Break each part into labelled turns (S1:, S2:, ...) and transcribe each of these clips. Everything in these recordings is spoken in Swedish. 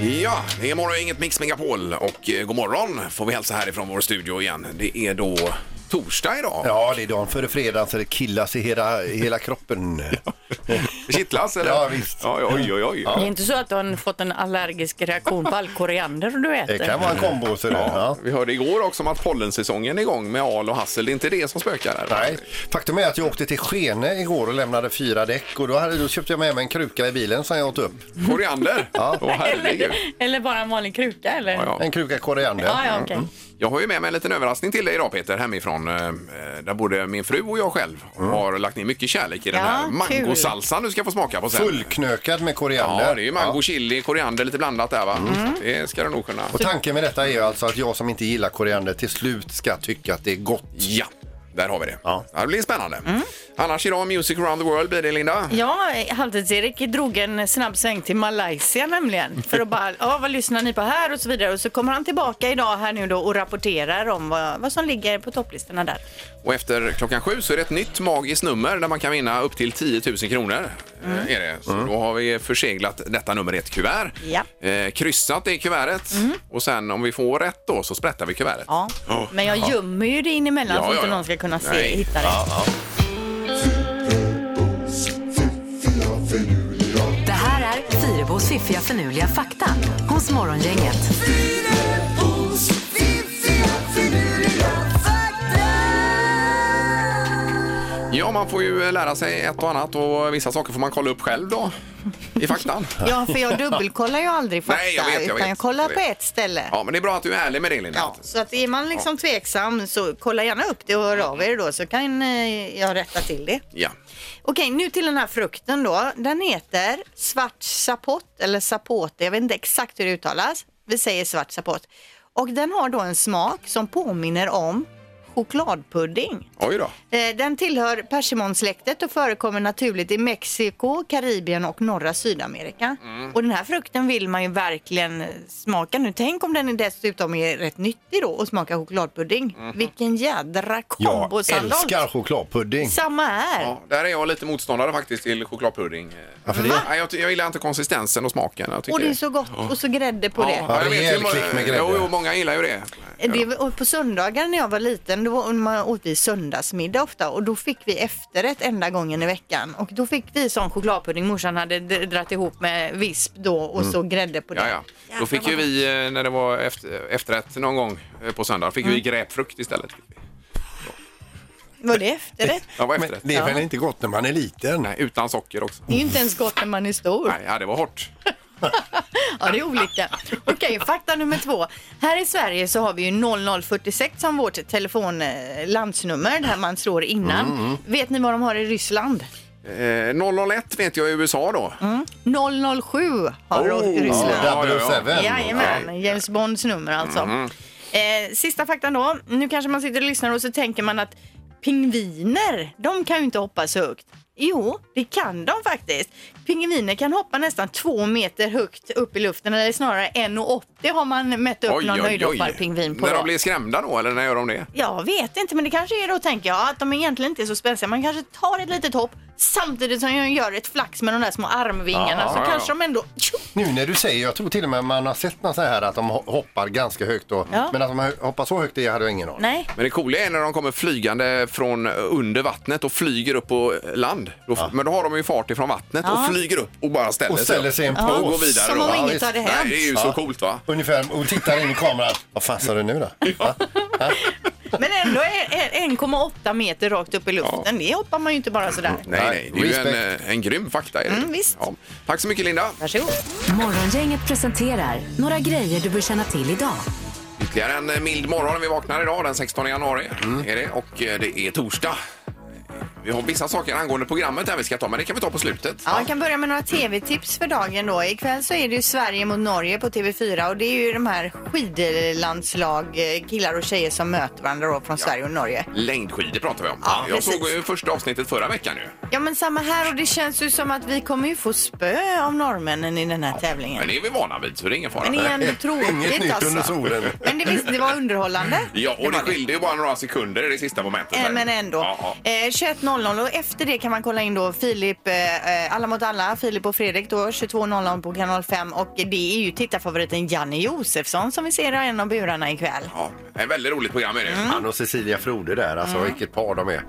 S1: Det är morgon, inget Mix Megapol och eh, god morgon får vi hälsa härifrån vår studio igen. Det är då torsdag idag.
S2: Ja, det är dagen före fredagen så det killas i hela, i hela kroppen.
S1: Kittlas eller?
S2: Ja, visst.
S1: Ja, oj, oj, oj.
S3: Det är inte så att du har fått en allergisk reaktion på all koriander du äter?
S2: Det kan vara en kombo. Så det, ja.
S1: Vi hörde igår också om att pollensäsongen är igång med al och hassel. Det är inte det som spökar här.
S2: Nej, faktum är att jag åkte till Skene igår och lämnade fyra däck och då, hade, då köpte jag med mig en kruka i bilen som jag åt upp.
S1: Koriander? Ja. Åh, herregud.
S3: eller, eller bara en vanlig kruka eller?
S1: Ja, ja.
S2: En kruka koriander.
S3: Ja, ja, okej.
S1: Jag har ju med mig en liten överraskning till dig idag Peter hemifrån. eh, Där både min fru och jag själv har lagt ner mycket kärlek i den
S3: Ja,
S1: här
S3: kul.
S1: mangosalsan du ska få smaka på sen.
S2: Fullknökad med koriander.
S1: Ja, det är ju mango, chili, koriander lite blandat där va. Så Det ska du nog kunna.
S2: Och tanken med detta är ju alltså att jag som inte gillar koriander till slut ska tycka att det är gott.
S1: Ja, där har vi det. Ja.
S2: Ja.
S1: Det blir spännande. Annars idag Music around the world blir det Linda.
S3: Mm. Ja, Halvtids-Erik drog en snabb sväng till Malaysia nämligen. För att bara, ja vad lyssnar ni på här och så vidare. Och så kommer han tillbaka idag här nu då och rapporterar om vad, vad som ligger på topplistorna där.
S1: Och efter klockan sju så är det ett nytt magiskt nummer där man kan vinna upp till 10 000 kronor.
S3: Mm.
S1: Eh, Är det. Så då har vi förseglat detta nummer i ett kuvert.
S3: Ja. Mm.
S1: Eh, kryssat i kuvertet och sen om vi får rätt då så sprättar vi kuvertet.
S3: Ja,
S1: Ja.
S3: men jag gömmer ju det in emellan
S1: Oh, Ja,
S3: så
S1: ja,
S3: inte
S1: ja.
S3: någon ska kunna se,
S1: Nej.
S3: hitta det.
S4: Det här är Fyrabos fiffiga förnuliga fakta hos Morgongänget.
S1: Ja, man får ju eh, lära sig ett och annat och vissa saker får man kolla upp själv då i faktan.
S3: Ja, för jag dubbelkollar ju aldrig fakta.
S1: Nej, jag vet, jag
S3: utan
S1: vet.
S3: jag kollar
S1: Jag vet.
S3: på ett ställe.
S1: Ja, men det är bra att du är ärlig med det Linda.
S3: Ja, så att är man liksom tveksam så kolla gärna upp det och hör av er då så kan eh, jag rätta till det.
S1: Ja.
S3: Okej, nu till den här frukten då. Den heter svart sapot eller sapote. Jag vet inte exakt hur det uttalas. Vi säger svart sapot. Och den har då en smak som påminner om chokladpudding.
S1: Oj då.
S3: Eh, Den tillhör persimonsläktet och förekommer naturligt i Mexiko, Karibien och norra Sydamerika.
S1: Mm.
S3: Och den här frukten vill man ju verkligen eh, smaka nu. Tänk om den är dessutom är rätt nyttig då och smakar chokladpudding.
S1: Mhm.
S3: Vilken jädra
S2: Jag
S3: kombosandal!
S2: älskar chokladpudding.
S3: Samma här!
S1: Ja, där är jag lite motståndare faktiskt till chokladpudding.
S2: Varför det?
S1: Nej, jag, ty- jag gillar inte konsistensen och smaken. Jag tycker-
S3: Och det är så gott och så grädde på det.
S1: Ja, jag
S2: Ja,
S1: vet
S2: rejäl
S1: ju, många-
S2: klick med grädde.
S1: Jo, jo, många gillar ju det.
S3: Det var, och på söndagar när jag var liten, då var- man åt vi söndagsmiddag ofta och då fick vi efterrätt enda gången i veckan. Och då fick vi sån chokladpudding morsan hade dr- dratt ihop med visp då och så grädde på det.
S1: Mm. Ja, ja. Då fick ju vi, eh, när det var efter, efterrätt någon gång eh, på söndag, fick vi
S3: Mm.
S1: gräpfrukt istället.
S3: Var det efterrätt?
S1: Ja, var
S2: Men
S1: efterrätt.
S2: det är väl inte gott när man är liten?
S1: Nej, utan socker också.
S3: Det är ju inte ens gott när man är stor.
S1: Nej, ja, det var hårt.
S3: Ja, det är olika. Okej, fakta nummer två. Här i Sverige så har vi ju 0046 som vårt telefonlandsnummer, där man slår innan.
S1: Mm.
S3: Vet ni vad de har i Ryssland?
S1: Eh, 001 vet jag i USA då.
S3: Mm. 007 har
S1: Oh,
S3: Ryssland.
S2: Ja,
S1: Ja, ja,
S2: double
S1: ja.
S2: seven.
S3: Jajamän, James Bonds nummer alltså.
S1: Mhm.
S3: Eh, sista faktan då. Nu kanske man sitter och lyssnar och så tänker man att pingviner, de kan ju inte hoppa så högt. Jo, det kan de faktiskt. Pingviner kan hoppa nästan två meter högt upp i luften, eller snarare 1,80 har man mätt upp någon höjdhopparpingvin på.
S1: När
S3: då.
S1: de blir skrämda då, eller när gör de det?
S3: Jag vet inte, men det kanske är då, tänker jag, att de egentligen inte är så spänstiga. Man kanske tar ett litet hopp samtidigt som jag gör ett flax med de där små armvingarna
S1: Ja,
S3: så
S1: ja,
S3: kanske
S1: ja.
S3: de ändå...
S2: Nu när du säger, jag tror till och med man har sett något så här att de ho- hoppar ganska högt då.
S3: Ja.
S2: Men att de hö- hoppar så högt, det hade jag ingen aning om.
S3: Nej.
S1: Men det coola är när de kommer flygande från under vattnet och flyger upp på land. Då, Men då har de ju fart ifrån vattnet
S3: Ja.
S1: och flyger upp och bara ställer
S2: Och ställer sig i en
S1: Och
S2: pås.
S1: går vidare
S3: Som
S1: då.
S3: om
S1: Ja,
S3: inget
S1: visst.
S3: hade
S1: Nej,
S3: hänt.
S1: det är ju så coolt va?
S2: Ungefär, och tittar in i kameran. Vad fan sa du nu då? Va?
S3: Men ändå är- är 1,8 meter rakt upp i luften. Det hoppar man ju inte bara sådär.
S1: Mm, Nej, nej, det är ju en,
S2: Respect.
S1: eh, en grym fakta. Är det.
S3: Mm, visst.
S1: Ja. Tack så mycket Linda.
S3: Varsågod.
S4: Morgongänget presenterar några grejer du bör känna till idag.
S1: Ytterligare en eh, mild morgon när vi vaknar idag den 16 januari.
S2: Mm.
S1: Är det. Och eh, det är torsdag. Vi har vissa saker angående programmet här vi ska ta, men det kan vi ta på slutet.
S3: Ja, jag kan börja med några tv-tips för dagen då. Ikväll så är det ju Sverige mot Norge på TV4 och det är ju de här skidlandslag, eh, killar och tjejer som möter varandra då från Sverige och Norge.
S1: Längdskidor pratar vi om.
S3: Ja,
S1: jag
S3: precis.
S1: såg ju första avsnittet förra veckan nu.
S3: Ja men samma här och det känns ju som att vi kommer ju få spö av norrmännen i den här tävlingen.
S1: Men det är vi vana vid, så det är ingen fara.
S3: Men det är ändå
S2: Inget
S3: tråkigt
S2: nytt under
S3: alltså.
S2: solen.
S3: Men det, visst, det var underhållande.
S1: Ja, och det
S3: var det.
S1: skilde ju bara några sekunder i det sista momentet.
S3: Eh,
S1: där.
S3: Men ändå.
S1: Ja, ja.
S3: Eh, 21.00 21.00 och efter det kan man kolla in då Filip, eh, eh, Alla mot alla, Filip och Fredrik då 22.00 på kanal 5 och det är ju tittarfavoriten Janne Josefsson som vi ser i en av burarna ikväll.
S1: Ja, ett väldigt roligt program är det.
S3: Mm.
S2: Han och Cecilia Frode där, alltså vilket par de är.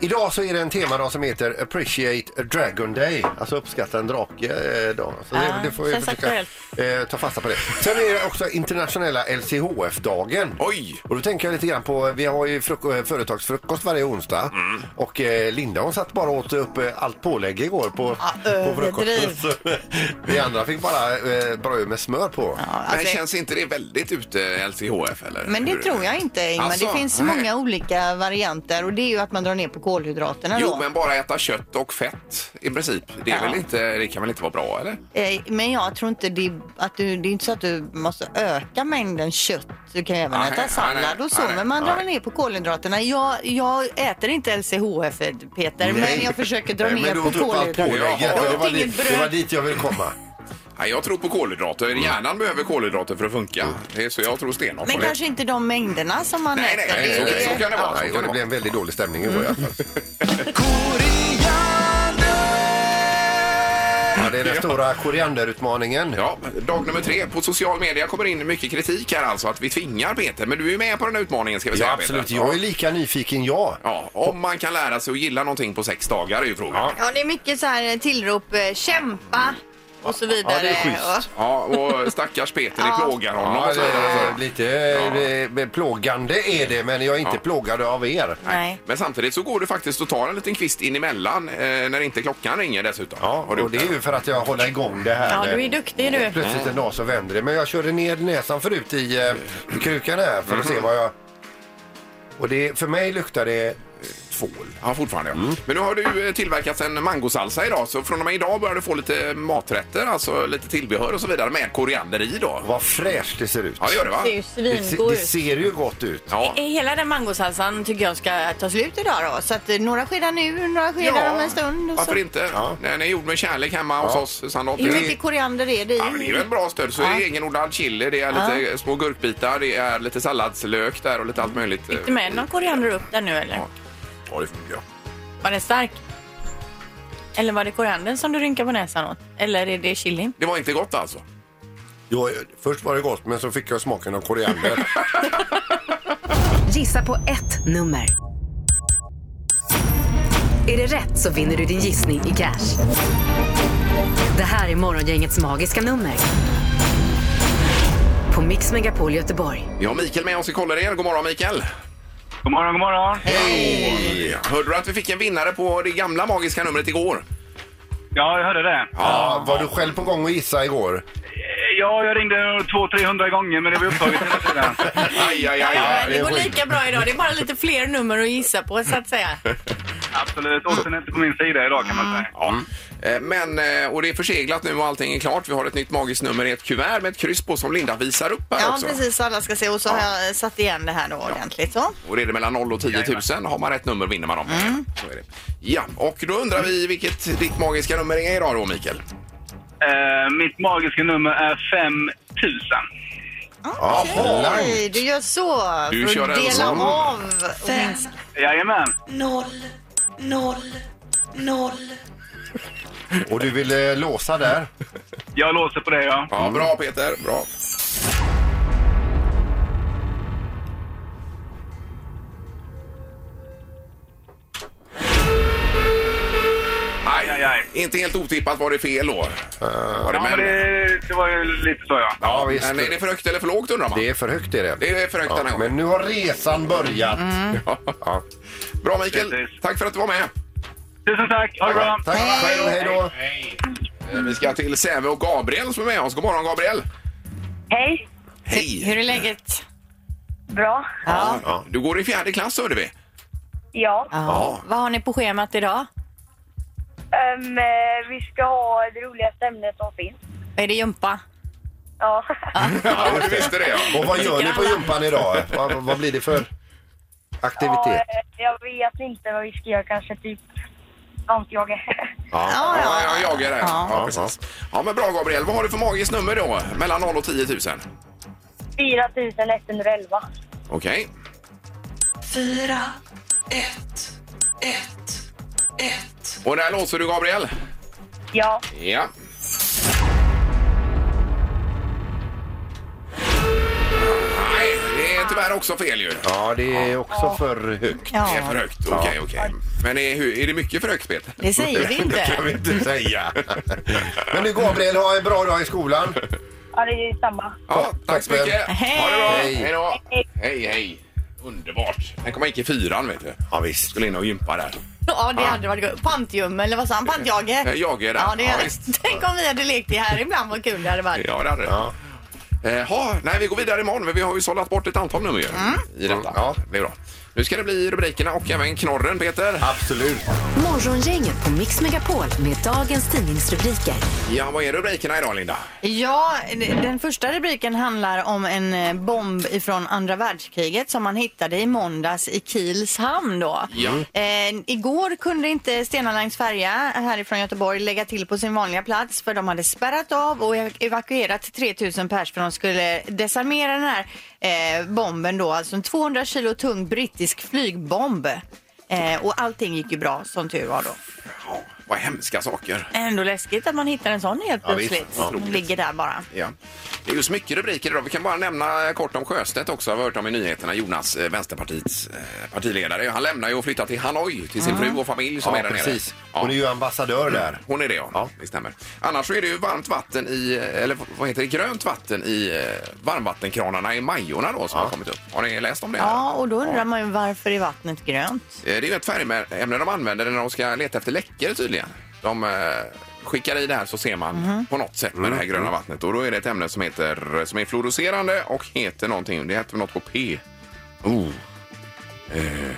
S2: Idag så är det en temadag som heter Appreciate a Dragon Day, alltså uppskatta en drake eh, dag. Så det,
S3: Ah,
S2: det får vi
S3: känns
S2: försöka eh, ta fasta på det. Sen är det också internationella LCHF-dagen.
S1: Oj!
S2: Och då tänker jag lite grann på, vi har ju fruk- eh, företagsfrukost varje onsdag och eh, Linda hon satt bara och åt upp eh, allt pålägg igår på, på frukosten.
S3: överdriv.
S2: Så, Vi andra fick bara eh, bröd med smör på.
S3: Ja,
S1: men
S3: alltså,
S1: känns inte det väldigt ute LCHF eller?
S3: men det
S1: Hur-
S3: tror jag inte Ingmar.
S1: Alltså,
S3: det finns
S1: nej.
S3: många olika varianter och det är ju att man drar ner på kolhydraterna
S1: Jo,
S3: då.
S1: men bara äta kött och fett i princip. Det, är
S3: Ja.
S1: väl inte, det kan väl inte vara bra eller?
S3: Eh, Men jag tror inte det, att du, det är inte så att du måste öka mängden kött. Du kan ju även
S1: Nej,
S3: äta sallad
S1: nej,
S3: och så,
S1: nej,
S3: men man drar
S1: nej.
S3: ner på kolhydraterna. Jag, jag äter inte LCHF, Peter, men jag försöker dra
S2: Nej,
S3: ner
S2: men
S3: på
S2: du åt upp allt
S3: kolhydraterna.
S2: pålägget.
S1: Jaha.
S2: Det, var
S3: Jag åt inget
S2: dit,
S3: bröd.
S2: det var dit jag ville komma.
S1: Nej, jag tror på kolhydrater.
S2: Mm.
S1: Hjärnan behöver kolhydrater för att funka. Det är så jag tror stenhårt på
S3: Men
S1: det.
S3: kanske inte de mängderna som man
S1: Nej, nej,
S3: äter.
S1: nej,
S3: Det är
S1: så-
S3: det-
S1: så kan det vara. Mm.
S2: Nej, och det blev en väldigt dålig stämning igår i alla fall. Ja, det är den stora korianderutmaningen.
S1: Ja, dag nummer tre. På social media kommer in mycket kritik här alltså att vi tvingar Peter. Men du är ju med på den här utmaningen ska vi säga
S2: Ja, absolut.
S1: Peter.
S2: Jag är lika nyfiken jag.
S1: Ja, om man kan lära sig att gilla någonting på sex dagar är ju frågan.
S3: Ja, det är mycket så här tillrop, eh, kämpa och så vidare.
S2: Ja, det är schysst.
S1: Ja, och stackars Peter, det
S3: Ja.
S1: plågar honom.
S2: Ja,
S1: och så vidare.
S2: det, Alltså, lite eh, plågande är det, men jag är inte
S1: Ja.
S2: plågad av er.
S3: Ja. Nej.
S1: Men samtidigt så går det faktiskt att ta en liten kvist in emellan eh, när inte klockan ringer dessutom.
S2: Ja,
S1: Har du
S2: och det
S1: gjort
S2: är ju för att jag håller igång det här. Eh,
S3: Ja, du är duktig du.
S2: Plötsligt en dag så vänder det. Men jag körde ner näsan förut i eh, krukan här för att
S1: Mm-hmm.
S2: se vad jag... Och det, för mig luktar det tvål.
S1: Ja, fortfarande. Ja.
S2: Mm.
S1: Men nu har du eh, tillverkat en mangosalsa idag, så från och med idag börjar du få lite maträtter, alltså lite tillbehör och så vidare med koriander i då.
S2: Vad fräscht det ser ut.
S1: Ja, det gör det va?
S3: Det är ju
S2: det, se-
S3: svingod
S2: det
S3: ut.
S2: ser ju gott ut.
S1: Ja.
S5: Eh,
S3: Hela den mangosalsan tycker jag ska ta slut idag då. Så att eh, några skedar nu, några skedar om en stund. Och så.
S1: varför inte?
S2: Ja.
S1: Den är gjord med kärlek hemma hos oss, Sandholt.
S3: Hur mycket koriander är det i?
S1: Ja, men det är ju en bra stöd. Så är det egenodlad chili, det är lite små gurkbitar, det är lite salladslök där och lite allt möjligt. eh, Fick
S5: du med någon koriander upp där nu eller?
S1: Ja, det funkar.
S5: Var den stark? Eller var det koriandern som du rynkade på näsan åt? Eller är det chilin?
S1: Det var inte gott alltså?
S2: Jo, först var det gott, men så fick jag smaken av koriander.
S4: Gissa på ett nummer. Är det rätt så vinner du din gissning i cash. Det här är Morgongängets magiska nummer. På Mix Megapol Göteborg.
S1: Vi har Mikael med oss i Kållered. God morgon Mikael!
S6: God morgon, god morgon.
S1: Hej! Hörde du att vi fick en vinnare på det gamla magiska numret igår?
S6: Ja, jag hörde det.
S2: ja, var du själv på gång att gissa igår?
S6: Ja, jag ringde 200-300 gånger, men det var upptaget hela tiden.
S1: Aj, aj, aj.
S5: Ja,
S2: det
S5: det
S2: är
S5: går
S2: skit.
S5: lika bra idag. Det är bara lite fler nummer att gissa på så att säga.
S6: Absolut. Oddsen är inte på min sida idag kan man säga.
S1: Ja. Eh, Men, eh, och det är förseglat nu och allting är klart. Vi har ett nytt magiskt nummer i ett kuvert med ett kryss på som Linda visar upp här
S3: Ja,
S1: också.
S3: precis. Alla ska se. Och så har jag eh, satt igen det här då ordentligt. Så.
S1: Och det är det mellan 0 och 10 000. Har man rätt nummer vinner man dem.
S3: Mm.
S1: Så är det. Ja, och då undrar vi vilket ditt magiska nummer är idag då, Mikael?
S6: Eh, mitt magiska nummer är 5000.
S2: Ja, blankt.
S3: Oj, du gör så
S1: Du
S3: för
S1: kör en
S3: att dela
S1: sån.
S3: av.
S6: Jajamän.
S2: Och du ville låsa där.
S6: Jag låser på det, ja.
S1: Ja, bra Peter. Bra. Aj, aj, aj. Inte helt otippat var det fel då. var det,
S6: Ja, men det, det var ju lite så, ja.
S1: ja,
S2: visst.
S1: men är det för högt eller för lågt undrar man?
S2: Det är för högt är det.
S1: Det är för högt den här
S2: ja,
S1: gången.
S2: men nu har resan börjat.
S1: Ja. Bra Mikael,
S6: Precis.
S1: tack för att du var med.
S6: Tusen tack. Ha det bra.
S2: Tack själv, hej då.
S1: Eh, Vi ska till Säve och Gabriel som är med oss. God morgon Gabriel!
S7: Hej.
S1: Hej!
S5: Hur är läget?
S7: Bra.
S1: Ja. Du går i fjärde klass hörde vi.
S7: Ja.
S1: Ja.
S5: Vad har ni på schemat idag?
S7: Ehm, eh, vi ska ha det roligaste ämnet som finns.
S5: Är det gympa?
S7: Ja.
S1: Ja, du visste det ja.
S2: Och vad gör ni på gympan idag? Vad, vad blir det för
S7: Ja,
S2: aktivitet?
S7: eh, jag vet inte vad vi ska göra. Kanske typ antjaga.
S1: Ja, ja, jag är det. Ja,
S2: Ja.
S1: precis. Ja, men bra Gabriel. Vad har du för magiskt nummer då? Mellan 0 och 10 000?
S7: 4 111.
S1: Okej.
S8: Fyra, ett, ett,
S1: ett. Och där låser du, Gabriel.
S9: Ja.
S1: Ja. Nej, det är tyvärr också fel ju.
S2: Ja, det är också för högt.
S1: Det är för högt. Okej, okej. Men är, hur- är det mycket för högt, Peter?
S3: Det säger vi
S2: Det
S3: inte.
S2: kan vi inte säga. Men du Gabriel, ha en bra dag i skolan.
S9: Ja, det är samma.
S1: Ja, tack så
S2: Tack,
S1: mycket.
S3: Hej.
S1: Ha det bra.
S2: Hej.
S1: Hej då. Hej, hej. Underbart. Tänk om man gick i fyran, vet du.
S2: Ja, visst.
S1: Skulle in och gympa där.
S3: Ja, det hade varit gott. Pantjum, eller vad sa han? Pantjage?
S1: Eh, Jager där.
S3: Ja, det
S1: Ja,
S3: är
S1: visst.
S3: Tänk om vi hade lekt det här ibland, vad kul det hade varit.
S1: Ja, det hade det.
S2: Ja.
S1: Jaha, nej vi går vidare imorgon men vi har ju sållat bort ett antal nummer ju
S3: Mm.
S1: i detta. Ja, det är bra. Nu ska det bli rubrikerna och även knorren Peter.
S2: Absolut.
S4: Morgongänget på Mix Megapol med dagens tidningsrubriker.
S1: Ja, vad är rubrikerna idag Linda?
S3: Ja, den första rubriken handlar om en eh, bomb ifrån andra världskriget som man hittade i måndags i Kiels hamn då.
S1: Ja.
S3: Eh, igår kunde inte Stena Lines färja härifrån Göteborg lägga till på sin vanliga plats för de hade spärrat av och ev- evakuerat 3000 pers för de skulle desarmera den här eh, bomben då, alltså en 200 kilo tung brittisk flygbomb. Eh, och allting gick ju bra som tur var då.
S1: Ja, vad hemska saker.
S3: Ändå läskigt att man hittar en sån helt
S2: Ja, visst.
S3: plötsligt.
S2: Ja.
S3: som ligger där bara.
S1: Ja. Det är ju så mycket rubriker idag. Vi kan bara nämna kort om Sjöstedt också. Har vi hört om i nyheterna. Jonas, eh, Vänsterpartiets eh, partiledare. Han lämnar ju och flyttar till Hanoi till sin fru och familj som
S2: Mm. Ja,
S1: är där
S2: precis.
S1: nere. Ja.
S2: Hon är ju ambassadör där.
S1: Hon är det ja.
S2: Ja.
S1: det stämmer. Annars så är det ju varmt vatten i, eh, eller vad heter det, grönt vatten i eh, varmvattenkranarna i Majorna då som har kommit upp. Har ni läst om det?
S3: Ja, och då undrar man ju varför är vattnet grönt?
S1: Eh, Det är ju ett färgämne de använder när de ska leta efter läckor tydligen. De eh, skickar i det här så ser man
S3: Mhm.
S1: på något sätt med det
S3: Mm.
S1: här gröna vattnet. Och då är det ett ämne som heter, som är fluorescerande och heter någonting. Det heter något på P. Oh.
S3: Men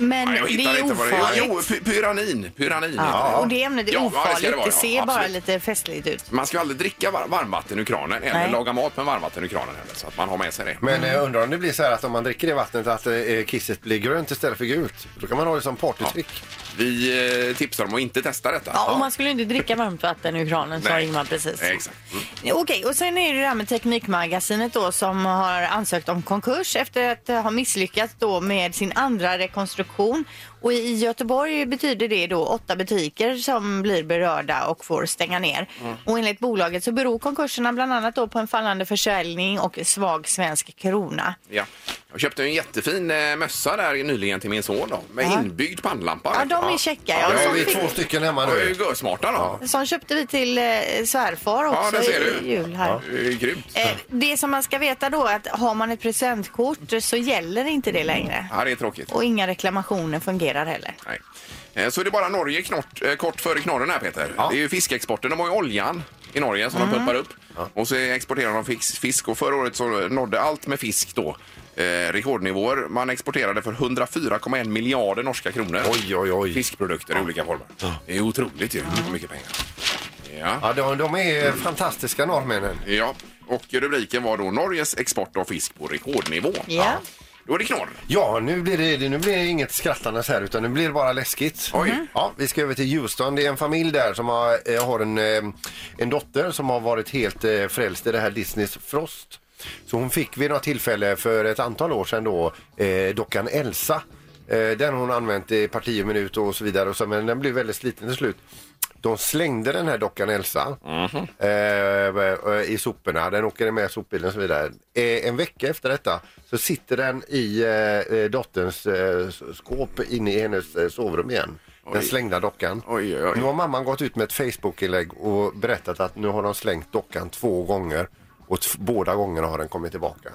S1: Nej, jag
S3: det
S1: hittar
S3: är
S1: inte vad det är.
S3: ofarligt.
S1: Jo, py- pyranin. Pyranin heter
S3: Ja.
S1: det.
S3: Och det ämnet är
S1: Ja, ja, det
S3: ofarligt.
S1: ska det
S3: Det,
S1: vara, ja.
S3: ser bara
S1: Absolut.
S3: lite festligt ut.
S1: Man ska aldrig dricka var- varmvatten ur kranen eller
S3: Nej.
S1: laga mat med varmvatten ur kranen heller, så att man har med sig det.
S2: Men jag undrar om det blir så här att om man dricker det vattnet att eh, kisset blir grönt istället för gult. Då kan man ha det som partytrick.
S1: Vi eh, tipsar om att inte testa detta.
S3: Ja, och man skulle ju inte dricka varmt vatten ur kranen, sa
S1: Nej.
S3: Ingmar precis. Eh,
S1: Nej, Exakt. Mm.
S3: Okej, och sen är det det här med Teknikmagasinet då som har ansökt om konkurs efter att eh, ha misslyckats då med sin andra rekonstruktion. Och i Göteborg betyder det då åtta butiker som blir berörda och får stänga ner.
S1: Mm.
S3: Och enligt bolaget så beror konkurserna bland annat då på en fallande försäljning och svag svensk krona.
S1: Ja. Jag köpte en jättefin eh, mössa där nyligen till min son då, med inbyggd pannlampa.
S3: Ja, de är checka.
S1: Ja,
S3: Ja,
S2: Ja,
S3: som,
S2: vi är
S3: fick,
S2: två stycken hemma
S1: De är ju
S2: nu.
S1: görsmarta då.
S3: som köpte vi till eh, svärfar
S1: Ja,
S3: också
S1: det ser
S3: i,
S1: du.
S3: i jul här.
S1: Det är ju grymt.
S3: Eh, det som man ska veta då är att har man ett presentkort så gäller inte det längre.
S1: Ja, det är tråkigt.
S3: Och inga reklamationer fungerar heller.
S1: Nej. Eh, Så är det bara Norge knort, eh, kort före knorren här Peter. Det är ju fiskexporten. De har ju oljan i Norge som de pumpar upp. Och så exporterar de fisk, fisk och förra året så nådde allt med fisk då eh, rekordnivåer. Man exporterade för 104,1 miljarder norska kronor.
S2: Oj, oj, oj.
S1: Fiskprodukter i olika former. Det är otroligt ju hur mycket pengar. Ja.
S2: Ja, de, de är fantastiska norrmännen.
S1: ja, och rubriken var då Norges export av fisk på rekordnivå.
S3: Ja.
S1: Då är det knorr.
S2: Ja, nu blir det, nu blir det inget skrattandes här utan nu blir det bara läskigt. Mm.
S1: Oj.
S2: Ja, vi ska över till Houston. Det är en familj där som har, eh, har en, eh, en dotter som har varit helt eh, frälst i det här Disneys Frost. Så hon fick vid något tillfälle för ett antal år sedan då eh, dockan Elsa. Eh, den hon använt i parti och minut och så vidare. Och så, men den blev väldigt sliten till slut. De slängde den här dockan Elsa
S1: Mhm.
S2: eh, eh, i soporna. Den åker med sopbilen och så vidare. Eh, en vecka efter detta så sitter den i eh, eh, dotterns eh, skåp inne i hennes eh, sovrum igen. Den slängda dockan.
S1: Oj, oj, oj.
S2: Nu har mamman gått ut med ett Facebook-inlägg och berättat att nu har de slängt dockan två gånger och t- båda gångerna har den kommit tillbaka.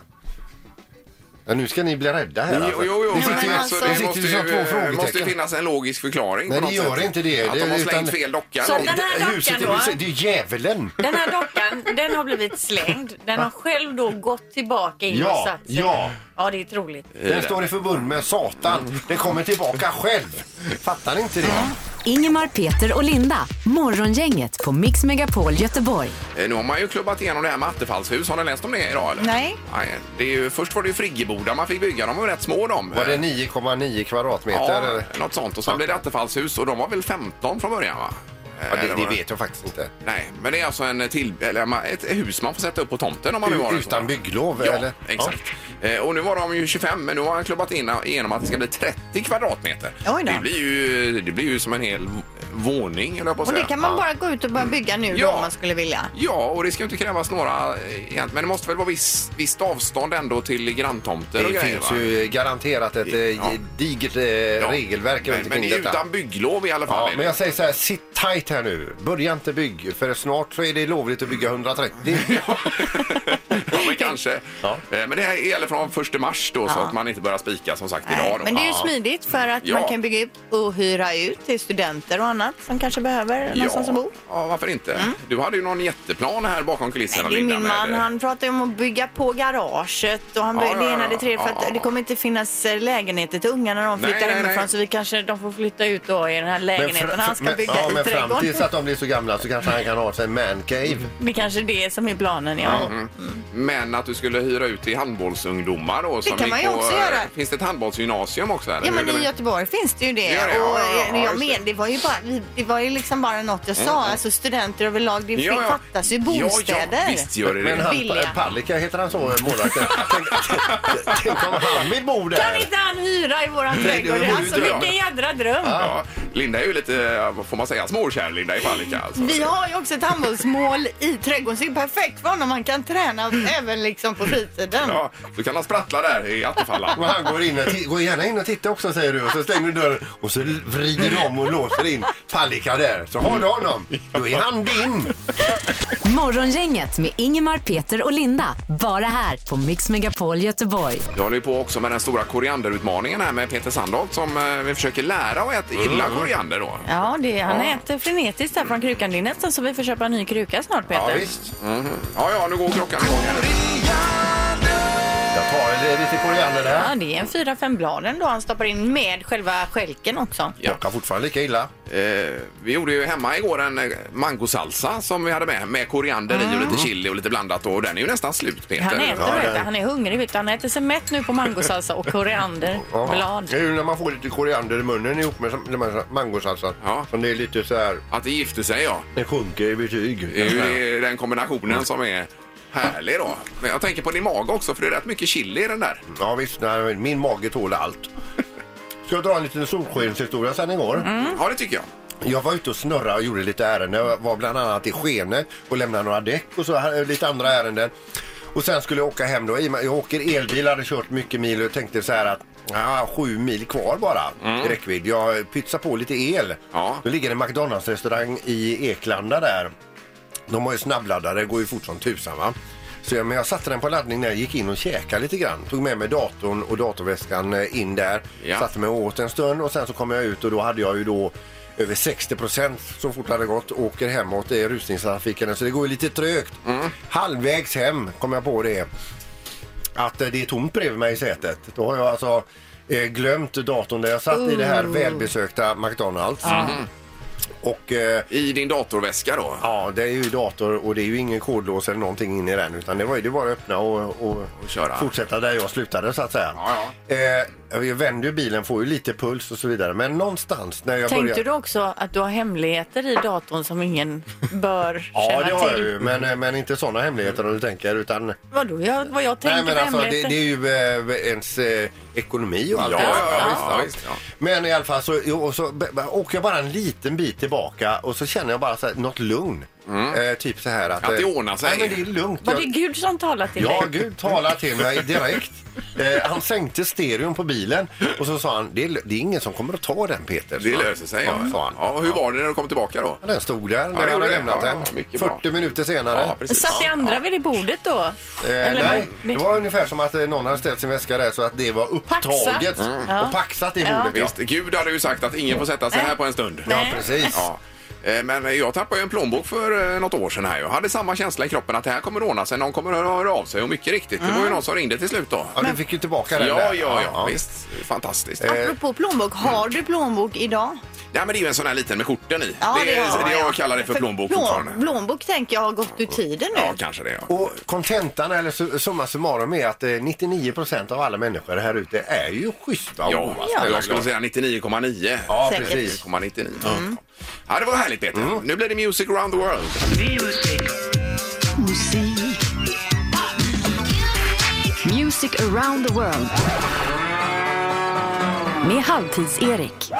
S2: Ja, nu ska ni bli rädda här.
S1: Jo,
S2: alltså.
S1: jo, jo,
S2: Ni
S1: men
S2: sitter ju-
S1: alltså,
S2: ni
S1: det
S2: sitter
S1: måste
S2: ju som två
S1: ju,
S2: frågetecken.
S1: måste ju finnas en logisk förklaring.
S2: Nej,
S1: på
S2: det
S1: något
S2: gör
S1: sätt.
S2: inte det.
S1: Att
S2: Det-
S1: de har
S2: utan-
S1: slängt fel docka.
S3: Så
S1: då.
S3: den här dockan
S2: Huset är
S3: då?
S2: ju- Det är ju djävulen.
S3: Den här dockan, den har blivit slängd. Den har själv då gått tillbaka in och
S2: Ja,
S3: satt sig.
S2: ja.
S3: Ja, det är troligt.
S2: Den står i förbund med Satan. Den kommer tillbaka själv. Fattar ni inte det?
S4: Ingemar, Peter och Linda. Morgongänget på Mix Megapol Göteborg.
S1: Eh, Nu har man ju klubbat igenom det här med attefallshus. Har ni läst om det idag eller?
S3: Nej.
S1: Nej det är ju, först var det ju friggeboda man fick bygga. De var ju rätt små de.
S2: Var det 9,9 kvadratmeter?
S1: Ja,
S2: eller?
S1: något sånt. Och sen blev det attefallshus och de var väl 15 från början va?
S2: Ja, det,
S1: eller
S2: det
S1: vad
S2: vet jag faktiskt inte.
S1: Nej, men det är alltså en till, eller man- ett hus man får sätta upp på tomten om man vill vara
S2: Utan bygglov
S1: Ja,
S2: eller?
S1: exakt. Eh, Och nu var de ju 25, men nu har han klubbat in igenom att det ska bli 30 kvadratmeter.
S3: Oj då.
S1: Det blir ju, det blir ju som en hel våning, eller jag på att
S3: Och det
S1: säga.
S3: kan man bara gå ut och börja bygga nu
S1: Ja.
S3: då om man skulle vilja.
S1: Ja, och det ska ju inte krävas några, eh, egent- men det måste väl vara viss, visst avstånd ändå till granntomter
S2: Det
S1: och grejer,
S2: finns
S1: va?
S2: ju garanterat ett
S1: Ja.
S2: ja. digert eh,
S1: Ja.
S2: regelverk
S1: Men,
S2: runt
S1: men
S2: omkring
S1: det är
S2: detta.
S1: utan bygglov i alla fall.
S2: Ja,
S1: är det.
S2: men jag säger så här, sitt tight här nu. Börja inte bygg, för snart så är det lovligt att bygga 130.
S1: ja, men kanske.
S2: Ja.
S1: Eh, Men det här gäller från 1 mars då, så att man inte börjar spika som sagt
S3: Nej,
S1: idag. Då.
S3: men det är ju smidigt för att
S1: Ja.
S3: man kan bygga upp och hyra ut till studenter och annat som kanske behöver någonstans att bo. Mm.
S1: ja, varför inte? Du hade ju någon jätteplan här bakom kulisserna,
S3: Det är
S1: Linda,
S3: min
S1: med-
S3: man, han pratar ju om att bygga på garaget och han
S1: Ja,
S3: bygger det
S1: ja,
S3: ena
S1: ja,
S3: det tredje för att
S1: ja.
S3: det kommer inte finnas eh, lägenheter till unga när de
S1: Nej,
S3: flyttar
S1: nej, nej.
S3: hemifrån så vi kanske, de får flytta ut då i den här lägenheten han ska
S2: men,
S3: bygga
S2: ja,
S3: i
S2: men fram
S3: trädgården.
S2: tills att de blir så gamla så kanske han kan ha sig en mancave.
S3: Det är kanske det som är planen, ja.
S1: Men att du skulle hyra ut till handbollsungdomar då. som
S3: kan
S1: gick
S3: man ju
S1: på, eh,
S3: också göra.
S1: Finns det ett handbollsgymnasium också? Eller?
S3: Ja men
S1: Hur är det
S3: i
S1: med-
S3: Göteborg finns det ju det.
S1: Det gör det, ja,
S3: och
S1: ja, ja,
S3: eh,
S1: ja,
S3: jag
S1: just Mm,
S3: men, det var ju bara, det var ju liksom bara något jag sa. Alltså studenter överlag, det
S1: Ja, ja.
S3: fattas ju bostäder.
S1: Ja, ja, visst gör det
S2: Men
S1: det.
S2: han,
S3: Billiga.
S2: Palicka heter han så, eh, målvakten. tänk, tänk om han vill bo
S3: Kan
S2: där.
S3: inte han hyra i våran
S2: det
S3: trädgård?
S2: vore ju
S3: Alltså
S1: drömmen.
S3: vilken jädra dröm!
S1: Ja, Linda är ju lite, eh, vad får man säga, småkär Linda i Palicka. Alltså.
S3: Vi har ju också ett handbollsmål i trädgården, så det är perfekt för honom. Han kan träna även liksom på fritiden.
S1: Ja, så kan han sprattla där i
S2: Och
S1: Attefalla.
S2: han går, in och ti- går gärna in och tittar också säger du och så stänger du dörren och så vrider du om och låser in Palicka där. Så har du honom. Då är han din.
S4: Morgongänget med Ingemar, Peter och Linda. Bara här på Mix Megapol Göteborg.
S1: Vi håller ju på också med den stora korianderutmaningen här med Peter Sandholt som eh, vi försöker lära och att gilla koriander då.
S3: Ja, det, han äter frenetiskt här från krukan. Det är nästan så vi får köpa en ny kruka snart,
S2: Ja,
S3: Peter.
S2: visst.
S1: Mhm. Ja, ja, nu går klockan igång här.
S2: Jag tar eh, lite koriander
S3: Ja,
S2: där.
S3: det är en fyra, fem blad ändå han stoppar in med själva skälken också.
S1: Ja.
S2: Smakar fortfarande lika illa.
S1: Eh, vi gjorde ju hemma igår en eh, mangosalsa som vi hade med, med koriander i och lite chili och lite blandat och den är ju nästan slut Peter.
S3: Han äter,
S2: Ja,
S3: vet du.
S2: det-
S3: han är hungrig. Vet du. Han äter sig mätt nu på mangosalsa och
S2: Ja.
S3: korianderblad.
S2: Det är ju när man får lite koriander i munnen ihop med sam- med mangosalsan.
S1: Ja.
S2: Som det är lite så här,
S1: Att det gifte sig ja.
S2: det sjunker i betyg.
S1: Det är ju det- den kombinationen som är härlig då. Men jag tänker på din mage också för det är rätt mycket chili i den där.
S2: Ja visst, nej, min mage tål allt. Ska jag dra en liten solskenshistoria sen igår?
S1: Ja, det tycker jag.
S2: Jag var ute och snurrade och gjorde lite ärenden. Jag var bland annat i Skene och lämnade några däck och så här, lite andra ärenden. Och sen skulle jag åka hem då. I och med- Jag åker elbil, hade kört mycket mil och tänkte så här att ja, sju mil kvar bara i räckvidd. Jag pytsar på lite el.
S1: Ja.
S2: Då ligger det en McDonalds-restaurang i Eklanda där. De har ju snabbladdare, går ju fort som tusan va. Så jag, men jag satte den på laddning när jag gick in och käkade lite grann. Tog med mig datorn och datorväskan eh, in där.
S1: Ja.
S2: Satte mig och åt en stund och sen så kom jag ut och då hade jag ju då över 60 procent så fort det hade gått. Åker hemåt i rusningstrafiken så det går ju lite trögt. Halvvägs hem kom jag på det att eh, det är tomt bredvid mig i sätet. Då har jag alltså eh, glömt datorn där jag satt i det här välbesökta McDonalds. Och eh,
S1: I din datorväska då.
S2: Ja, det är ju dator och det är ju ingen kodlås eller någonting in i den utan det var ju det var att öppna och, och,
S1: Och köra.
S2: fortsätta där jag slutade så att säga.
S1: Ja,
S2: Eh, jag vänder ju bilen, får ju lite puls och så vidare men någonstans när jag
S3: Tänkte
S2: börjar...
S3: du också att du har hemligheter i datorn som ingen bör
S2: Ja,
S3: känna
S2: det har jag
S3: till?
S2: ju, men, eh, men inte sådana hemligheter om du tänker utan...
S3: Vadå, jag, vad jag tänker
S2: Nej, men
S3: på
S2: alltså, det,
S3: hemligheter?
S2: det är ju eh, ens eh, ekonomi och allt
S1: Ja,
S2: det där.
S1: ja,
S2: Ja.
S1: visst, ja, visst, ja.
S2: Men i alla fall så, jo, och så b- b- åker jag bara en liten bit tillbaka och så känner jag bara så här, något lugn. Eh, typ så här att...
S1: Mm. Att det
S2: eh,
S1: ordnar sig.
S2: Nej, men det är lugnt.
S3: Var
S2: Jag-
S3: det Gud som talade till
S2: Ja,
S3: dig?
S2: Gud talade till mig direkt. Eh, han sänkte stereon på bilen och så sa han, det är, det är ingen som kommer att ta den Peter. sa
S1: Det
S2: han.
S1: löser sig.
S2: Ja, sa han.
S1: Ja, och hur var det när du kom tillbaka då?
S2: Den stod där när
S1: det
S2: han
S1: gjorde
S2: hade
S1: det.
S2: lämnat
S1: Ja,
S2: den.
S1: ja, mycket bra.
S2: 40 minuter senare.
S1: Ja, precis.
S3: Satt det andra vid det bordet då?
S2: Eh, nej,
S3: men-
S2: det var ungefär som att eh, någon hade ställt sin väska där så att det var upptaget
S3: Paxat.
S2: och paxat i bordet.
S1: Visst, Gud hade ju sagt att ingen får sätta sig här på en stund.
S2: Ja, ja precis.
S1: Ja. Eh, Men jag tappade ju en plånbok för eh, något år sedan här. Jag hade samma känsla i kroppen att det här kommer att ordna sig. Någon kommer att höra av sig och mycket riktigt. Det var ju någon som ringde till slut då.
S2: Ja, du fick ju tillbaka den
S1: Ja,
S2: där. Eh.
S1: ja, ja, visst. Fantastiskt.
S3: Apropå plånbok, har du plånbok idag?
S1: Ja, men det är ju en sån här liten med korten i.
S3: Ja,
S1: det,
S3: det har
S1: är,
S3: jag,
S1: det
S3: ja.
S1: jag kallar det för plånbok
S3: plån-
S1: fortfarande.
S3: Plånbok tänker jag har gått ur tiden nu.
S1: Ja, kanske det. Ja.
S2: Och kontentan eller su- summa summarum är att eh, 99 av alla människor här ute är ju schyssta och
S1: Ja,
S2: goda.
S1: jag skulle säga 99,9.
S2: Ja,
S3: Säkert.
S2: precis.
S1: 99,99. Ja, det var härligt Peter. Nu blir det Music around the world.
S4: Music around the world. Med Halvtids-Erik.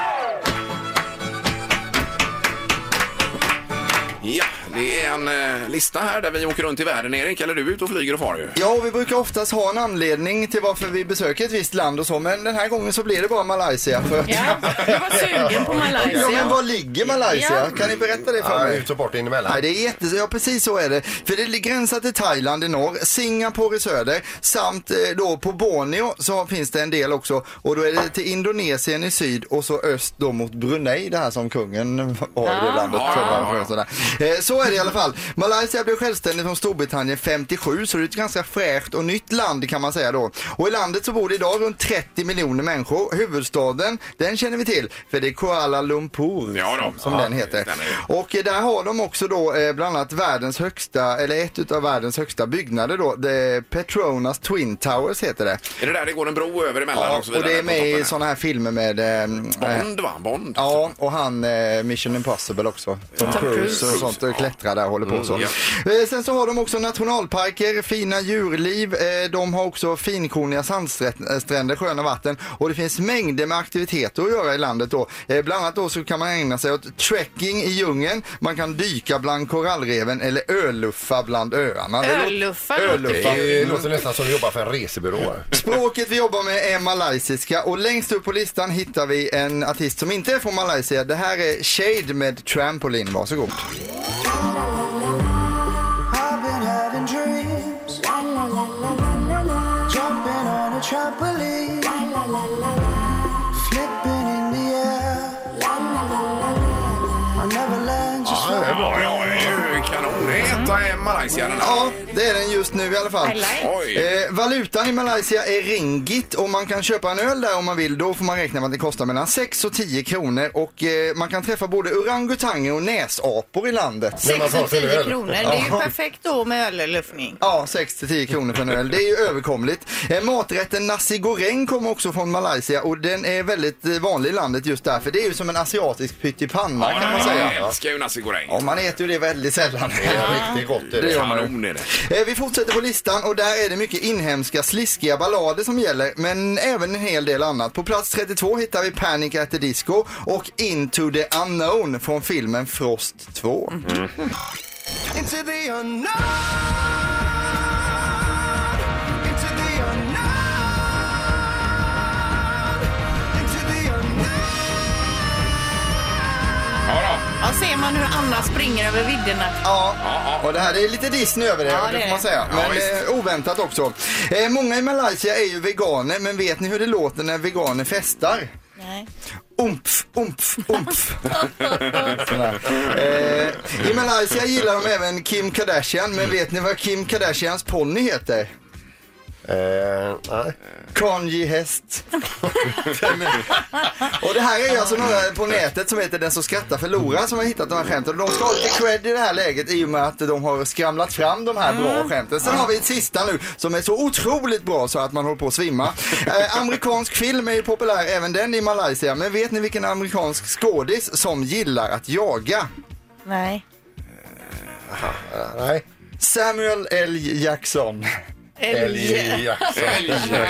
S1: Ja, det är en eh, lista här där vi åker runt i världen. Erik, eller du är ute och flyger och far ju.
S7: Ja, och vi brukar oftast ha en anledning till varför vi besöker ett visst land och så, men den här gången så blir det bara Malaysia. För...
S10: Ja, jag var sugen på
S7: Ja, men
S10: Malaysia.
S7: var ligger Malaysia? Kan ni berätta det för
S2: Ja,
S7: mig?
S2: ut och bort in emellan.
S7: Nej, det är jätte... Ja, precis så är det. För det gränsar till Thailand i norr, Singapore i söder, samt eh, då på Borneo så finns det en del också. Och då är det till Indonesien i syd och så öst då mot Brunei, det här som kungen har i det landet.
S1: Ja,
S7: för
S1: ja,
S7: man får
S1: ja.
S7: sådär. Eh, Så är det i alla fall. Malaysia blev självständigt från Storbritannien 57, så det är ett ganska fräscht och nytt land kan man säga då. Och i landet så bor det idag runt 30 miljoner människor. Huvudstaden, den känner vi till, för det är Kuala Lumpur
S1: Ja då.
S7: som
S1: Ja,
S7: den heter.
S1: den är-
S7: Och eh, där har de också då eh, bland annat världens högsta, eller ett utav världens högsta byggnader då, det Petronas Twin Towers heter det.
S1: Är det där det går en bro över emellan och så
S7: och
S1: vidare?
S7: det är
S1: på
S7: med
S1: toppen
S7: i
S1: där?
S7: sådana här filmer med ehm, eh,
S1: Bond va? Bond?
S7: Ja, och han eh, Mission Impossible också. Tom Cruise och sånt och klättrar där och håller på och så.
S1: Mm,
S7: Eh, sen så har de också nationalparker, fina djurliv. Eh, de har också finkorniga sandstränder, sköna vatten och det finns mängder med aktiviteter att göra i landet då. Eh, bland annat då så kan man ägna sig åt trekking i djungeln, man kan dyka bland korallreven eller öluffa bland öarna. Det låter-
S3: Ölluffa.
S2: Det
S7: Öluffa.
S2: är ju- låter nästan som att jobba för en resebyrå.
S7: Språket vi jobbar med är malaysiska och längst upp på listan hittar vi en artist som inte är från Malaysia. Det här är Shade med Trampoline. Varsågod.
S1: Ja, det var ja, det är ju kanon. Det är etta i Malaysia den här.
S7: Ja, det är den just nu i alla fall.
S1: Oj!
S7: Eh, valutan i Malaysia är ringgit och man kan köpa en öl där om man vill. Då får man räkna med att det kostar mellan 6 och 10 kronor och eh, man kan träffa både orangutanger och näsapor i landet.
S2: När man
S3: 6
S2: tar sin
S3: 10
S2: öl.
S3: kronor. Det är ju perfekt då med ölluffning.
S7: Ja, 6 till 10 kronor för en öl. Det är ju överkomligt. Eh, maträtten nasi goreng kommer också från Malaysia och den är väldigt eh, vanlig i landet just därför. Det är ju som en asiatisk pyttipanna kan man
S1: Jag
S7: säga.
S1: älskar ju nasi goreng.
S7: Ja, man äter ju det väldigt sällan.
S2: Det är riktigt gott. Det är
S7: Det
S2: det.
S7: gör man ju.
S1: Kanon är det.
S7: Eh, Vi fortsätter på listan och där är det mycket inhemska sliskiga ballader som gäller men även en hel del annat. På plats 32 hittar vi Panic at the Disco och Into the Unknown från filmen Frost 2. Into the unknown Into the unknown Into the unknown
S1: Ja, då.
S3: Ja, ser man hur Anna springer över vidderna.
S7: Ja,
S1: Ja, ja.
S7: Och det här är lite Disney över det,
S3: Ja,
S7: det
S3: det
S7: får
S3: är
S7: man
S3: det.
S7: säga.
S1: Ja,
S7: Men
S1: visst.
S7: eh, oväntat också. Eh, många i Malaysia är ju veganer, men vet ni hur det låter när veganer festar?
S3: Nej.
S7: Umpf, umpf, umpf. Sådär. eh, I Malaysia gillar de även Kim Kardashian, men vet ni vad Kim Kardashians ponny heter?
S2: Eh, nej.
S7: Kanye häst. och det här är alltså några på nätet som heter Den som skrattar förlorar som har hittat de här skämten. Och de ska ha lite cred i det här läget i och med att de har skramlat fram de här bra skämten. Sen har vi ett sista nu som är så otroligt bra så att man håller på att svimma. Eh, amerikansk film är ju populär även den i Malaysia. Men vet ni vilken amerikansk skådis som gillar att jaga? Eh,
S3: Nej.
S2: nej.
S7: Samuel L. Jackson.
S2: Älg Jackson.
S1: Ja,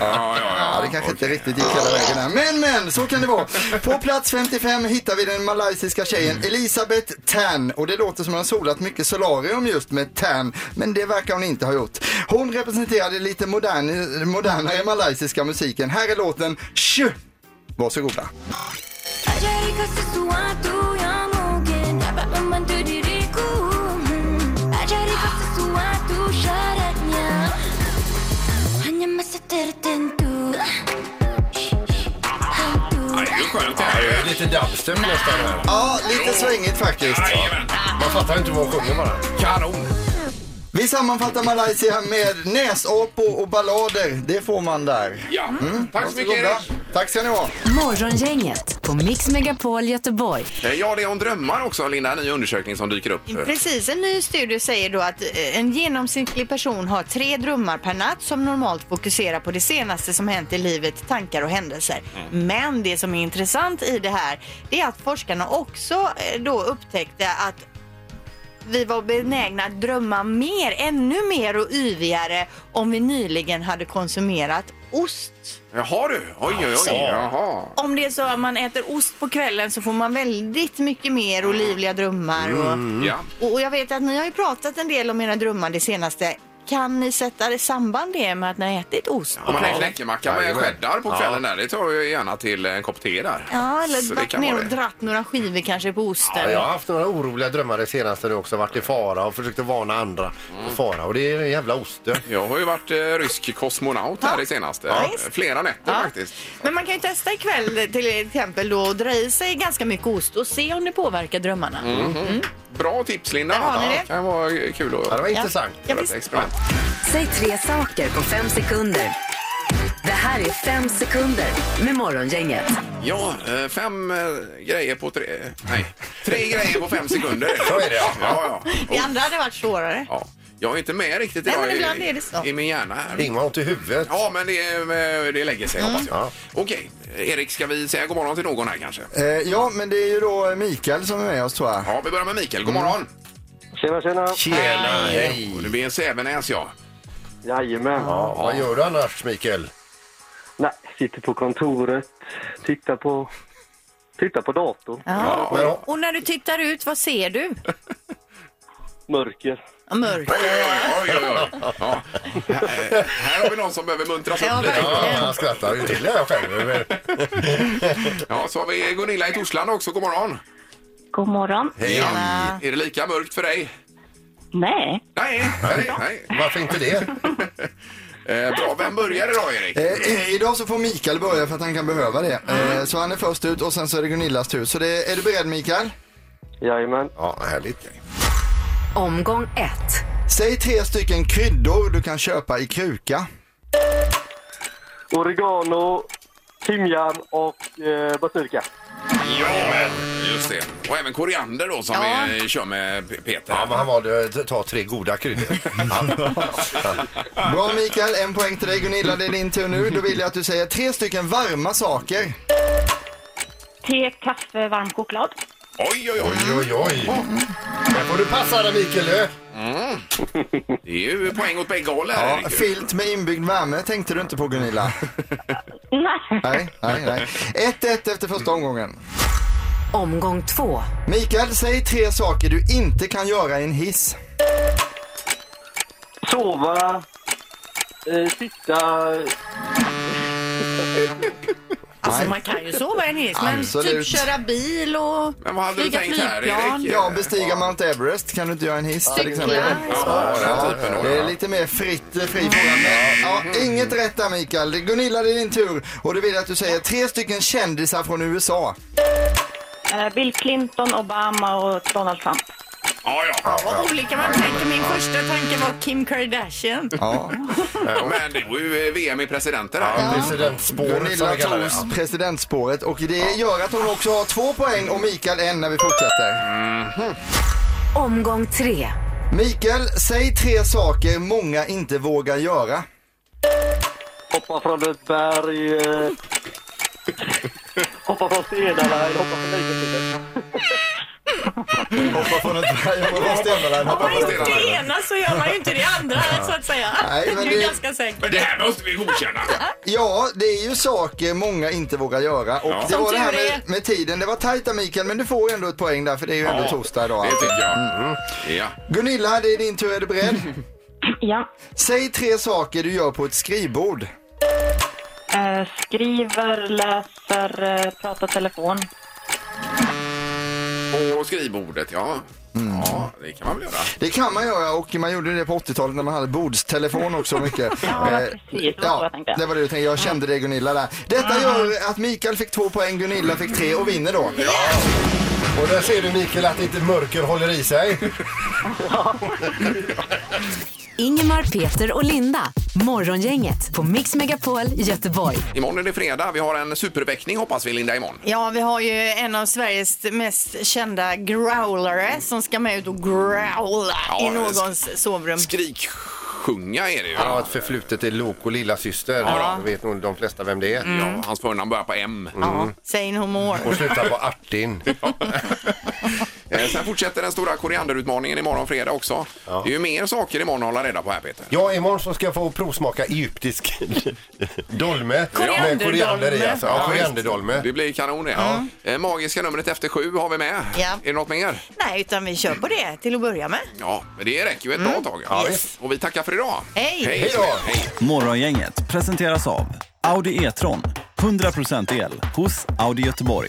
S1: ja,
S7: Ja, det
S1: ja.
S7: kanske inte riktigt gick hela vägen här. Men, men, så kan det vara. På plats 55 hittar vi den malaysiska tjejen Elisabeth Tan. Och det låter som hon har solat mycket solarium just med Tan. Men det verkar hon inte ha gjort. Hon representerade lite modern, modernare malaysiska musiken. Här är låten Shh! Varsågoda.
S1: Ja, Det är ju skönt det
S2: Det
S1: här.
S2: är lite dubstep nästan här.
S7: Ja, lite svängigt faktiskt.
S1: Jajamän.
S2: Man fattar inte vad hon sjunger bara.
S1: Kanon!
S7: Vi sammanfattar Malaysia med näsapor och ballader. Det får man där.
S1: Ja, tack så mycket
S7: Mm. Varsågoda.
S1: Erik.
S7: Tack ska ni ha.
S4: Morgongänget på Mix Megapol Göteborg.
S1: Eh, Ja, det är om drömmar också, Linda. En ny undersökning som dyker upp. Eh,
S3: Precis, en ny studie säger då att eh, en genomsnittlig person har tre drömmar per natt som normalt fokuserar på det senaste som hänt i livet, tankar och händelser. Men det som är intressant i det här, det är att forskarna också eh, då upptäckte att vi var benägna att drömma mer, ännu mer och yvigare om vi nyligen hade konsumerat ost.
S1: Jaha du, oj oj oj.
S3: Säger jag.
S1: Jaha.
S3: Om det är så att man äter ost på kvällen så får man väldigt mycket mer och livliga drömmar. Och
S7: Mm.
S1: Ja.
S3: och och jag vet att ni har ju pratat en del om era drömmar det senaste. Kan ni sätta i samband det med att ni har ätit ost?
S1: Om man är knäckemacka med
S2: Jajamän.
S1: cheddar på kvällen där, det tar jag gärna till en kopp te där. Så
S3: Ja, eller
S1: det
S3: varit
S1: kan
S3: ner
S1: vara
S3: och
S1: det.
S3: dratt några skivor kanske på osten.
S2: Ja, jag har haft några oroliga drömmar det senaste nu också. Varit i fara och försökt att varna andra för fara. Och det är en jävla osten.
S1: Jag har ju varit eh, rysk kosmonaut här det senaste.
S3: visst.
S1: Eh, Flera nätter
S3: Ja.
S1: faktiskt.
S3: Men man kan ju testa ikväll till exempel då och dra i sig ganska mycket ost och se om det påverkar drömmarna.
S1: Bra tips Linda.
S3: har ni
S1: Ja,
S3: det.
S1: kan vara kul att
S2: Ja, det
S1: göra
S2: var intressant.
S3: Ja,
S1: ett
S3: visst.
S1: experiment.
S4: Säg tre saker på fem sekunder. Det här är fem sekunder med Morgongänget.
S1: Ja, eh, fem eh, grejer på tre... eh, Nej, tre grejer på fem sekunder.
S2: Så är det, ja.
S1: ja, ja.
S3: Det andra hade varit svårare.
S1: ja. Jag är inte med riktigt
S3: Nej,
S1: idag
S3: men ibland
S1: i,
S3: är det så.
S1: i min hjärna. Här.
S2: Ingmar har ont i huvudet.
S1: Ja, men det, eh, det lägger sig
S3: Mm.
S1: hoppas jag.
S2: Ja.
S1: Okej, Erik, ska vi säga god morgon till någon här kanske?
S7: Eh, ja, men det är ju då Mikael som är med oss tror jag.
S1: Ja, vi börjar med Mikael. God morgon!
S11: Tjena, tjena.
S2: Tjena, hej!
S1: Och det blir en Sävenäs, ja.
S11: Jajamän.
S2: Ja, vad gör du annars, Mikael?
S11: Nej, sitter på kontoret, tittar på, tittar på datorn,
S2: Ja, ja.
S3: Och när du tittar ut, vad ser du?
S11: mörker.
S3: Ja, Mörker.
S1: Oj, oj, oj, oj. Ja. Här, eh, här har vi någon som behöver muntras upp
S3: Ja,
S1: lite.
S3: verkligen.
S2: han skrattar ju till här själv. Men-
S1: Ja, så har vi Gunilla i Torslanda också. God morgon!
S9: God morgon.
S2: Hej.
S1: Ja. Är det lika mörkt för dig?
S9: Nej.
S1: Nej, nej, nej.
S2: Varför inte det?
S1: Eh, bra, vem börjar idag Erik?
S7: Eh, eh, idag så får Mikael börja för att han kan behöva det. Eh, så han är först ut och sen så är det Gunillas tur. Så det, är du beredd Mikael?
S11: Jajamän.
S2: Ja, härligt.
S4: Omgång ett.
S7: Säg tre stycken kryddor du kan köpa i kruka.
S11: Oregano, timjan och eh, basilika.
S1: Jajamän, just det. Och även koriander då som
S3: Ja.
S1: vi eh, kör med P- Peter.
S2: Ja, men han valde att ta tre goda kryddor.
S7: Bra Mikael, en poäng till dig Gunilla. Det är din tur nu. Då vill jag att du säger tre stycken varma saker.
S9: Te, kaffe, varm choklad.
S1: Oj, oj, oj.
S2: Oj, oj, oj. Där får du passa dig, Mikael. du.
S1: Det är ju poäng åt bägge håll här
S7: Ja,
S1: Erik.
S7: filt med inbyggd värme tänkte du inte på Gunilla.
S9: Nej.
S7: Nej, nej, nej. 1-1 efter första omgången.
S4: Omgång två.
S7: Mikael, säg tre saker du inte kan göra i en hiss.
S11: Sova, eh, sitta...
S3: Alltså man kan ju sova i en hiss, men
S7: Absolut.
S3: typ köra bil och
S1: Men vad hade du
S3: flyga
S1: tänkt här
S3: flygplan.
S1: Erik?
S7: Ja, bestiga Mount Everest kan du inte göra i en hiss till exempel.
S1: Ja, den
S7: Ja,
S1: typen då.
S7: det är lite mer fritt, eh, fri fråga. Men, ja, inget rätt där Mikael. Det- Gunilla, det är din tur. Och du vill jag att du säger tre stycken kändisar från USA.
S9: Eh, Bill Clinton, Obama och Donald Trump.
S1: Ja, ja.
S3: Vad olika man tänker. Min första tanke var Kim Kardashian.
S7: Ja.
S1: Men det var ju eh, VM i presidenter här.
S2: Presidentspåret, som
S7: Gunilla
S2: vi kallar det.
S7: tog presidentspåret och det gör att hon också har två poäng och Mikael en när vi fortsätter.
S4: Omgång tre.
S7: Mikael, säg tre saker många inte vågar göra.
S11: Hoppa från ett berg. Eh, hoppa från stenarna eller hoppa från Lidingö.
S7: Hoppa från ett berg, hoppa från stenarna, hoppa från stenarna.
S1: Presidenten.
S3: ena så gör man ju inte det andra så att säga.
S7: Nej, men
S3: det är
S7: det-
S3: ganska säkert.
S1: Men det här måste vi godkänna.
S7: Ja, det är ju saker många inte vågar göra. Och det
S3: Som
S7: var det här
S3: tur
S7: med,
S3: är.
S7: med tiden. Det var tajt där, Mikael, men du får ändå ett poäng där för det är ju ändå torsdag idag.
S1: Det tycker jag.
S7: Mm.
S1: Ja.
S7: Gunilla, det är din tur. Är du beredd?
S9: Ja.
S7: Säg tre saker du gör på ett skrivbord.
S9: Eh, skriver, läser, eh, pratar telefon.
S1: På skrivbordet, ja.
S7: Mm.
S1: Ja, det kan man väl göra.
S7: Det kan man göra och man gjorde det på 80-talet när man hade bordstelefon också mycket.
S9: Ja,
S7: Eh,
S9: precis. Det var så jag Mm. tänkte.
S7: det var det du tänkte. Jag kände det Gunilla där. Detta gör att Mikael fick två poäng, Gunilla fick tre och vinner då.
S2: Och där ser du Mikael att inte mörker håller i sig.
S4: Ingemar, Peter och Linda. Morgongänget på Mix Megapol Göteborg.
S1: Imorgon är det fredag. Vi har en superväckning hoppas vi Linda imorgon.
S3: Ja, vi har ju en av Sveriges mest kända growlare som ska med ut och growla
S1: Ja,
S3: i någons sovrum.
S1: Skriksjunga är det ju.
S2: Han har ett förflutet i Lok och lilla syster. Ja. Mm. vet nog de flesta vem det är.
S1: Ja, hans förnamn börjar på M.
S3: Ja, say no more.
S1: Mm.
S2: Och slutar på Artin.
S1: Eh, Sen fortsätter den stora korianderutmaningen imorgon fredag också. Det är ju mer saker imorgon att hålla reda på här Peter.
S2: Ja, imorgon så ska jag få provsmaka egyptisk dolme.
S3: Korianderdolme.
S2: Med koriander i alltså. Ja,
S1: Ja,
S2: korianderdolme.
S1: Det blir kanon det. Eh, Magiska numret efter sju har vi med.
S3: Ja.
S1: Är det något mer?
S3: Nej, utan vi kör på det till att börja med.
S1: Ja, men det räcker ju ett bra tag.
S2: Ja, visst.
S1: Och vi tackar för idag.
S3: Mm. Hej!
S1: Hej
S2: Hej då!
S1: Hej!
S12: Morgongänget presenteras av Audi E-tron. 100% el hos Audi Göteborg.